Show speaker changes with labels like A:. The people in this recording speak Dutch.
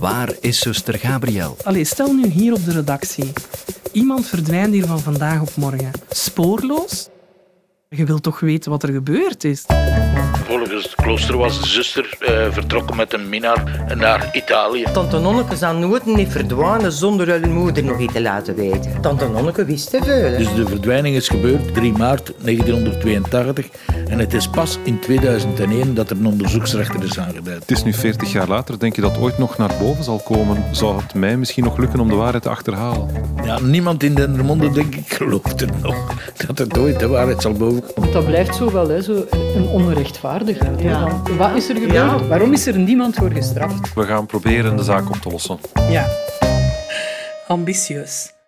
A: Waar is zuster Gabriel?
B: Allee, stel nu hier op de redactie. Iemand verdwijnt hier van vandaag op morgen. Spoorloos? Je wilt toch weten wat er gebeurd is?
C: Volgens het klooster was de zuster eh, vertrokken met een minnaar naar Italië.
D: Tante Nonneke zou nooit niet verdwijnen zonder hun moeder nog iets te laten weten. Tante Nonneke wist te veel. hè.
C: Dus de verdwijning is gebeurd 3 maart 1982 en het is pas in 2001 dat er een onderzoeksrechter is aangeduid.
E: Het is nu 40 jaar later. Denk je dat ooit nog naar boven zal komen? Zou het mij misschien nog lukken om de waarheid te achterhalen?
C: Ja, niemand in Dendermonde, denk ik, gelooft er nog dat het ooit de waarheid zal bovenkomen.
F: Dat blijft zo wel hè, zo een onrechtvaardigheid. hè. Van, Wat is er gebeurd? Waarom is er niemand voor gestraft?
E: We gaan proberen de zaak op te lossen.
G: Ja. Ambitieus.